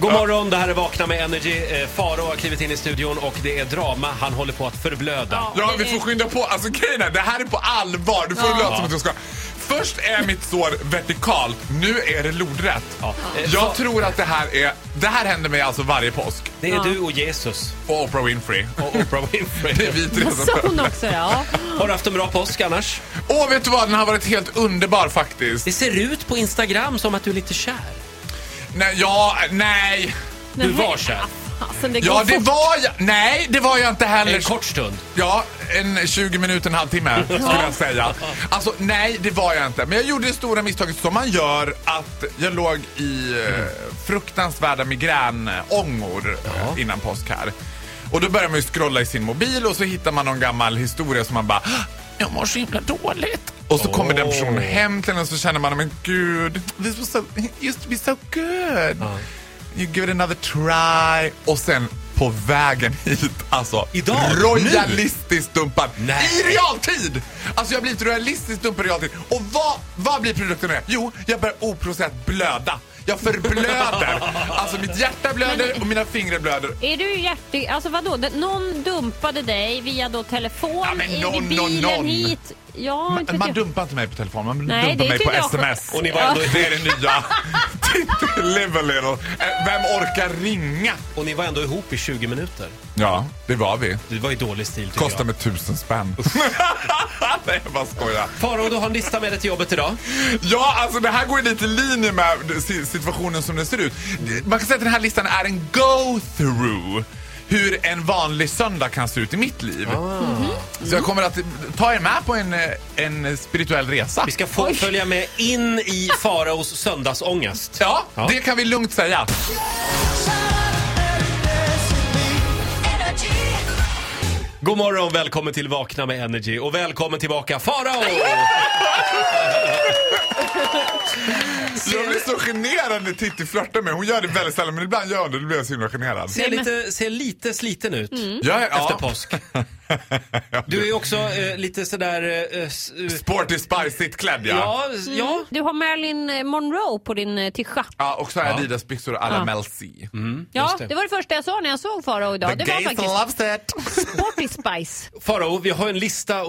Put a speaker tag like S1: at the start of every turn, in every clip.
S1: God morgon, det här är Vakna med Energy. Eh, Faro har klivit in i studion och det är drama. Han håller på att förblöda.
S2: Ja, vi får skynda på. Alltså grejen är, det här är på allvar. Du får det låta som att du ska. Först är mitt sår vertikalt, nu är det lodrätt.
S1: Ja. Eh,
S2: Jag tror att det här är... Det här händer mig alltså varje påsk.
S1: Det är du och Jesus
S2: Och Oprah Winfrey.
S1: och Oprah Winfrey.
S2: Det är vi tre som
S3: Så hon också ja.
S1: Har du haft en bra påsk annars?
S2: Åh, vet du vad? Den har varit helt underbar faktiskt.
S1: Det ser ut på Instagram som att du är lite kär.
S2: Nej, ja, nej.
S1: Du var kär.
S3: Alltså, det går
S2: Ja, det
S3: fort.
S2: var jag. Nej, det var jag inte heller.
S1: En kort stund.
S2: Ja, en 20 minuter, en halvtimme skulle jag säga. Alltså nej, det var jag inte. Men jag gjorde det stora misstaget som man gör att jag låg i eh, fruktansvärda migränångor eh, innan påsk här. Och då börjar man ju scrolla i sin mobil och så hittar man någon gammal historia som man bara "Ah, jag mår så himla dåligt. Och så kommer den personen hem till en och så känner man, "Oh, men gud, this was so, it used to be so good. You give it another try. Och sen på vägen hit, alltså.
S1: Idag?
S2: Royalistiskt dumpad.
S1: Nej.
S2: I realtid! Alltså jag blir blivit royalistiskt dumpad i realtid. Och vad, vad blir produkten nu? Jo, jag börjar oprocent blöda. Jag förblöder. alltså mitt hjärta blöder och mina fingrar blöder.
S3: Är du hjärtig? Alltså vadå? Det- Någon dumpade dig via då telefon
S2: Ja, men
S3: in i
S2: någon,
S3: bilen
S2: någon, någon.
S3: hit. Ja, inte
S2: Man,
S3: vet
S2: man
S3: jag.
S2: dumpar inte mig på telefon, man
S3: Nej,
S2: dumpar
S3: det
S2: mig på
S3: tycker jag-
S2: sms.
S1: Och ni var ändå,
S2: Det är det nya. Titta, Live a little. Eh, Vem orkar ringa?
S1: och ni var ändå ihop i 20 minuter.
S2: Ja, det var vi.
S1: Det var ju dålig stil tycker
S2: Kostar
S1: jag.
S2: mig tusen spänn. Nej, jag bara skojar.
S1: Faro, du har en lista med dig till jobbet idag.
S2: Ja, alltså det här går ju lite i linje med si- situationen som den ser ut. Man kan säga att den här listan är en go-through hur en vanlig söndag kan se ut i mitt liv.
S1: Ah.
S2: Så jag kommer att ta er med på en, eh, en spirituell resa.
S1: Vi ska få följa med in i Faraos söndagsångest.
S2: Ja,
S1: Ja.
S2: det kan vi lugnt säga.
S1: God morgon, välkommen till Vakna med Energy och välkommen tillbaka Farao!
S2: Jag blir så generad när Titti flörtar med Hon gör det väldigt sällan, men ibland gör hon det. Då blir jag så himla generad.
S1: Ser lite, ser lite sliten ut
S2: Jag är,
S1: efter
S2: Mm. ja,
S1: påsk. Du är ju också eh, lite sådär... Eh, s- eh,
S2: sporty, spicigt klädd, ja. ja. Mm.
S1: ja, s- ja.
S3: Mm. Du har Marilyn Monroe på din eh, tischa.
S2: och så har jag Adidas-byxor alla
S3: Ja.
S2: Mel C.
S3: Ja,
S1: det.
S3: det. var det första jag sa när jag såg Farao idag.
S2: The
S3: det var
S2: gays
S3: faktiskt
S2: loves it.
S3: Sporty Spice.
S1: Farao, vi har en lista att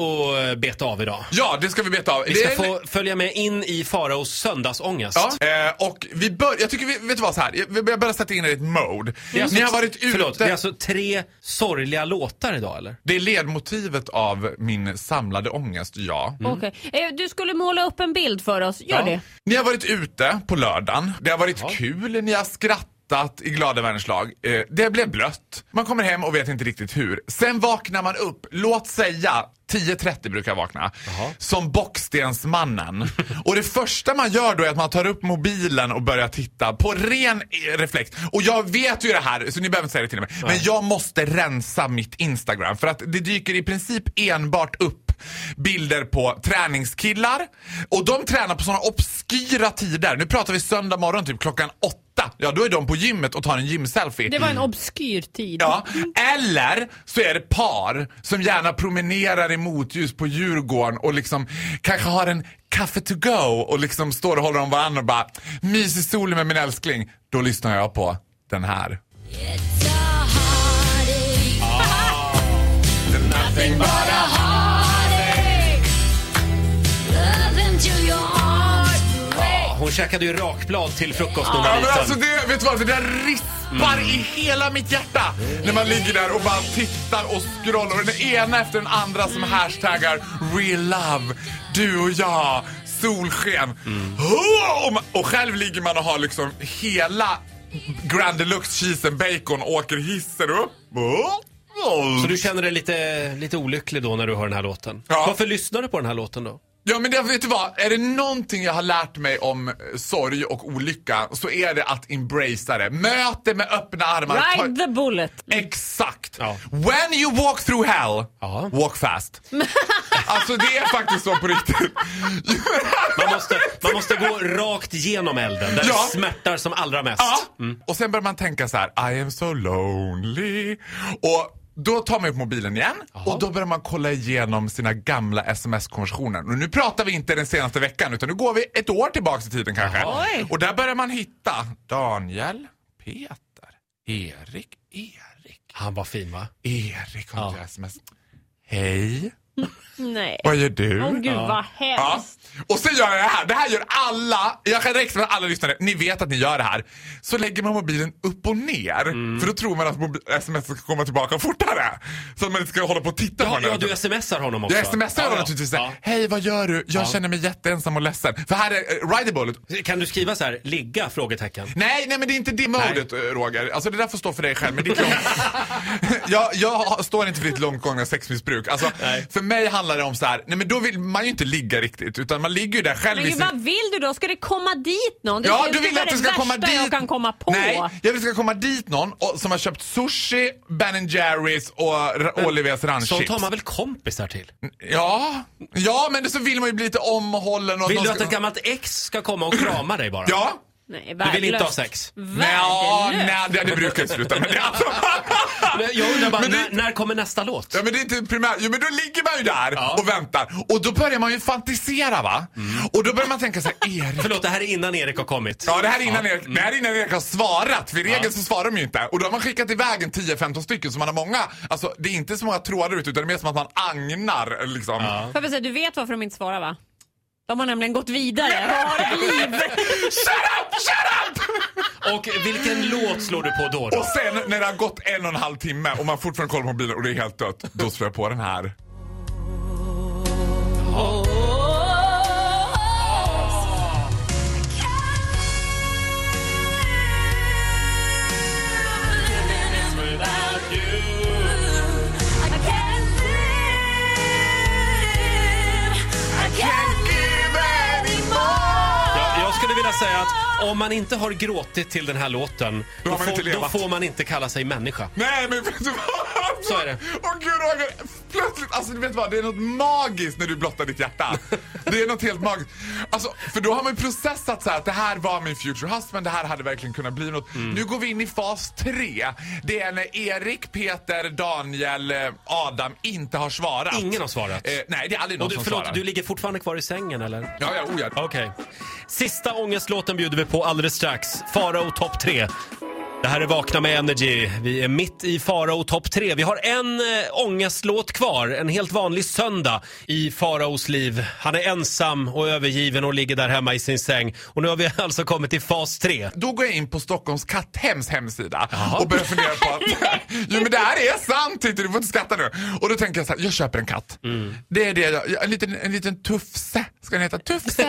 S1: eh, beta av idag.
S2: Ja, det ska vi beta av.
S1: Vi
S2: Det
S1: ska
S2: är en-
S1: få följa med in i Faraos söndagsångest.
S2: Ja. Eh, och vi bör, jag tycker vi, vet du vad, så här, vi börjar bara sätta in er i ett mode.
S1: Det är alltså-
S2: Ni har varit ute,
S1: Förlåt, det
S2: det,
S1: är alltså tre sorgliga låtar idag eller?
S2: är ledmotivet av min samlade ångest, ja.
S3: Okej. Eh, Du skulle måla upp en bild för oss. Gör det.
S2: Ni har varit ute på lördagen, det har varit
S1: Ja.
S2: kul, ni har skrattat i glada vänners lag. Eh, det blev blött. Man kommer hem och vet inte riktigt hur. Sen vaknar man upp, låt säga 10.30 brukar jag vakna, som bockstensmannen. och det första man gör då är att man tar upp mobilen och börjar titta på ren eh, reflekt. Och jag vet ju det här, så ni behöver inte säga det till mig. Men jag måste rensa mitt Instagram för att det dyker i princip enbart upp bilder på träningskillar och de tränar på sådana obskyra tider. Nu pratar vi söndag morgon typ klockan åtta. Ja, då är de på gymmet och tar en gymselfie.
S3: Det var en obskyr tid.
S2: Mm. Ja, eller så är det par som gärna promenerar i motljus på Djurgården och liksom kanske har en kaffe to go och liksom står och håller om varandra och bara mys i solen med min älskling. Då lyssnar jag på den här.
S1: Ja, hon käkade ju rakblad till frukost när hon
S2: Ja,
S1: var
S2: men alltså
S1: liten.
S2: det, vet du vad, det där rispar i hela mitt hjärta när man ligger där och bara tittar och scrollar och den ena efter den andra som hashtaggar real love, du och jag, solsken. Oh, och, man, och själv ligger man och har liksom hela Grand Deluxe cheese and bacon åker hissen upp. Oh.
S1: Så du känner dig lite, lite olycklig då när du hör den här låten.
S2: Ja.
S1: Varför lyssnar du på den här låten då?
S2: Ja men det, vet du vad, är det någonting jag har lärt mig om eh, sorg och olycka så är det att embracea det. Möt det med öppna armar. Ta-
S3: Ride the bullet.
S2: Exakt!
S1: Ja.
S2: When you walk through hell,
S1: Ja.
S2: walk fast. alltså det är faktiskt så på riktigt.
S1: Man måste, man måste gå rakt genom elden där
S2: Ja.
S1: det smärtar som allra mest.
S2: ja. Mm. Och sen börjar man tänka så här, I am so lonely. Och då tar man upp mobilen igen och då börjar man kolla igenom sina gamla sms-konversationer. Och nu pratar vi inte den senaste veckan utan nu går vi ett år tillbaka i tiden kanske.
S3: Jaha. Oj.
S2: Och där börjar man hitta Daniel, Peter. Erik, Erik.
S1: Han var fin va?
S2: Erik kom
S1: Ja.
S2: till sms. Hej,
S3: Nej.
S2: vad gör du?
S3: Åh gud vad
S2: Ja.
S3: hemskt.
S2: Och sen gör jag det här. Det här gör alla. Jag kan räkna med alla lyssnare. Ni vet att ni gör det här. Så lägger man mobilen upp och ner.
S1: Mm.
S2: För då tror man att mobi- sms ska komma tillbaka fortare. Så att man inte ska hålla på och titta på
S1: Ja,
S2: den.
S1: ja, du smsar honom också.
S2: jag smsar honom
S1: ja.
S2: naturligtvis.
S1: Ja.
S2: Hej, vad gör du? Jag känner mig jätteensam och ledsen. För här är uh, Rideable.
S1: Kan du skriva så här, ligga? Frågetecken.
S2: Nej, nej men det är inte det modet eh, Roger. Alltså det där får stå för dig själv. Men det är långt... jag, jag står inte för ditt långt gångna sexmissbruk. Alltså,
S1: Nej.
S2: för mig handlar det om så här, nej men då vill man ju inte ligga riktigt. Utan man ligger ju där själv
S3: Men
S2: i
S3: gud,
S2: sin...
S3: vad vill du då? Ska det komma dit någon? Det
S2: Ja,
S3: är
S2: du
S3: ju
S2: vill
S3: det
S2: att det ska
S3: värsta
S2: komma dit.
S3: jag kan komma på.
S2: Nej, jag vill att det ska komma dit någon och, som har köpt sushi, Ben Jerrys och R- Olivers
S1: Sånt
S2: ranchchips.
S1: har man väl kompisar till?
S2: Mm, Ja, ja men det, så vill man ju bli lite omhållen. Och
S1: Vill
S2: någon
S1: du
S2: ska-
S1: att ett gammalt ex ska komma och krama dig bara?
S2: Ja.
S3: Nej,
S1: Du vill inte ha
S3: värdelöst.
S1: sex?
S2: Nej,
S3: Värdelöst.
S2: nej, det, det brukar ju sluta med det. Alltså.
S1: Men Jag undrar bara,
S2: Men det-
S1: när, när kommer nästa låt?
S2: Ja men det är inte primärt. Jo men då ligger man ju där
S1: Ja. Mm.
S2: och väntar. Och då börjar man ju fantisera va? Och då börjar man tänka så här, Erik.
S1: Förlåt, det här är innan Erik har kommit.
S2: Ja det här är innan, Erik, det här är innan Erik har svarat. För i regel så svarar de ju inte. Och då har man skickat iväg en 10-15 stycken så man har många. Alltså det är inte så många trådar ut utan det är mer som att man agnar liksom.
S3: Får jag bara säga, du vet varför de inte svarar va? De har nämligen gått vidare och har ett liv.
S1: Och vilken låt slår du på då?
S2: Och
S1: då?
S2: sen när det har gått en och en halv timme och man fortfarande kollar på mobilen och det är helt dött. Då slår jag på den här.
S1: Ja, jag skulle vilja säga att om man inte har gråtit till den här låten,
S2: Då
S1: då
S2: har man inte
S1: får, då
S2: levat.
S1: får man inte kalla sig människa.
S2: Nej men vet du vad?
S1: Så är det.
S2: Åh gud Roger, plötsligt, alltså du vet vad, det är något magiskt när du blottar ditt hjärta. Det är något helt magiskt. Alltså, för då har man ju processat så här att det här var min future husband, det här hade verkligen kunnat bli något.
S1: Mm.
S2: Nu går vi in i fas tre. Det är när Erik, Peter, Daniel, eh, Adam inte har svarat.
S1: Ingen har svarat.
S2: Eh, nej, det är aldrig någon
S1: Och du,
S2: som
S1: förlåt,
S2: svarar.
S1: du ligger fortfarande kvar i sängen eller?
S2: Ja, ja, oh, ja.
S1: Okej. Sista ångestlåten bjuder vi på alldeles strax. Farao topp 3. Det här är Vakna med Energy. Vi är mitt i Farao topp 3. Vi har en eh, ångestlåt kvar, en helt vanlig söndag i Faraos liv. Han är ensam och övergiven och ligger där hemma i sin säng. Och nu har vi alltså kommit till fas 3.
S2: Då går jag in på Stockholms katthems hemsida och börjar fundera på att jo, men det här är sant, titta, du får inte skratta nu. Och då tänker jag så här, jag köper en katt. Det är det jag, jag- en liten, en liten tufse, ska den heta tufse?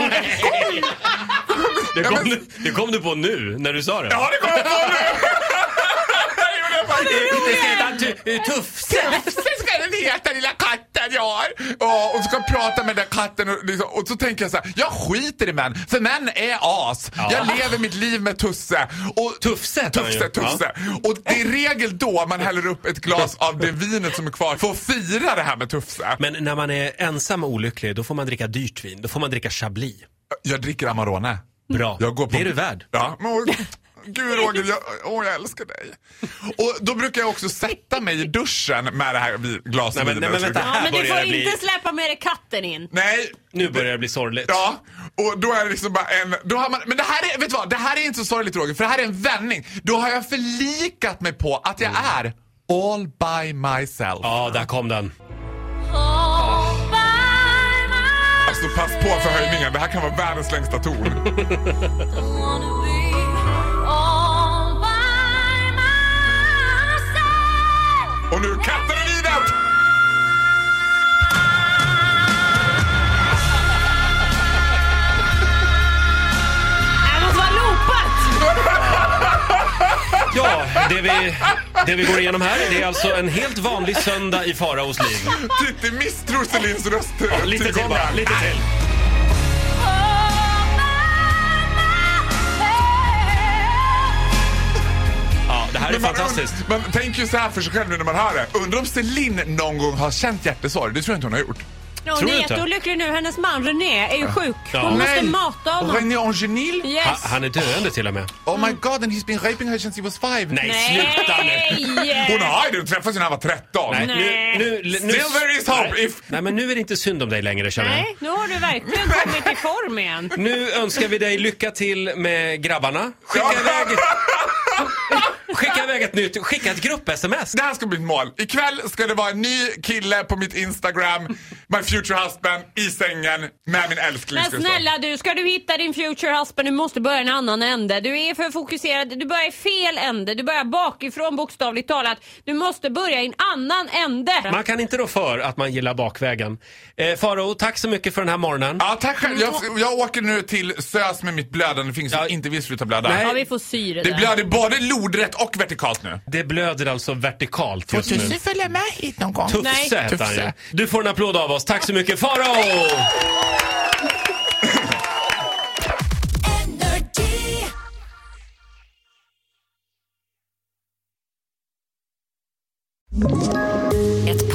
S1: Det
S2: Ja,
S1: kom,
S2: men-
S1: du- det kom du på nu när du sa det.
S2: ja det kommer jag på nu! Jag gjorde det faktiskt.
S1: Det ska heta tu- Tufse!
S2: Tufse ska den heta lilla katten jag har. Ja, och så ska jag prata med den där katten och, liksom, och så tänker jag så här, jag skiter i män, för män är as. Jag lever mitt liv med Tusse. Och
S1: Tufse heter han ju.
S2: Tufse, tufse. Och det är i regel då man häller upp ett glas av det vinet som är kvar för att fira det här med Tufse.
S1: Men när man är ensam och olycklig, då får man dricka dyrt vin. Då får man dricka Chablis.
S2: Jag dricker Amarone.
S1: Bra.
S2: Jag går på...
S1: Det är du värd.
S2: Ja, men, åh, gud Roger, jag, åh, jag älskar dig. Och då brukar jag också sätta mig i duschen med det här vi- glaset
S1: Nej, men- nej, men
S2: vinet.
S1: vänta.
S3: Ja, men
S1: Här
S3: du
S1: börjar
S3: får
S1: det bli-
S3: inte släppa med dig katten in.
S2: Nej,
S1: Nu börjar det bli sorgligt.
S2: Ja, och då är det liksom bara en... Då har man, men det här är, vet du vad? Det här är inte så sorgligt Roger, för det här är en vändning. Då har jag förlikat mig på att jag är all by myself.
S1: Mm. Ja, där kom den.
S2: Alltså pass på för höjningen, det här kan vara världens längsta ton. Och nu katten i vinet!
S3: Det måste vara loopat!
S1: Ja, det vi, det vi går igenom här det är alltså en helt vanlig söndag i Faraos liv.
S2: Titti misstror Celins röst
S1: Lite till bara, lite till. Ja, det här är
S2: Men, man,
S1: fantastiskt.
S2: man tänker ju så här för sig själv nu när man hör det. Undrar om Celine någon gång har känt hjärtesorg? Det tror jag inte hon har gjort.
S1: Tror
S3: Ja, hon
S1: du
S3: är
S1: inte?
S3: jätteolycklig nu. Hennes man René är ju sjuk.
S1: Ja.
S3: Hon måste
S2: Nej.
S3: mata honom.
S2: René Angenil?
S1: Ha,
S3: Yes.
S1: han är döende till och med.
S2: Oh my god, and he's been raping her since he was five.
S1: Nej,
S3: Nej!
S1: sluta nu.
S2: Hon har ju träffats när han var 13.
S1: Nej, nu, nu, nu, nu,
S2: Still there is hope if...
S1: nej, men nu är det inte synd om dig längre känner jag.
S3: Nej, nu har du verkligen kommit i form igen.
S1: Nu önskar vi dig lycka till med grabbarna. Skicka iväg, skicka iväg ett nytt, skicka ett grupp-sms.
S2: Det här ska bli ett mål. Ikväll ska det vara en ny kille på mitt Instagram, my future husband, i sängen med min älskling.
S3: Men
S2: ska det stå.
S3: snälla du, ska du hitta din future husband, du måste börja en annan ände. Du är för fokuserad, du börjar i fel ände, du börjar bakifrån bokstavligt talat. Du måste börja i en annan ände.
S1: Man kan inte rå för att man gillar bakvägen. Eh, Faro, tack så mycket för den här morgonen.
S2: Ja, tack själv.
S3: Mm.
S2: Jag, jag åker nu till SÖS med mitt blödande finger som inte vill sluta blöda.
S1: Nej.
S3: ja, vi får sy det
S2: Det
S3: där.
S2: blöder både lodrätt och vertikalt nu.
S1: Det blöder alltså vertikalt just nu.
S2: följa med hit någon gång?
S1: Tufse heter han ju.
S2: Tufse.
S1: Du får en applåd av oss. Tack så mycket. Faro!
S4: Ett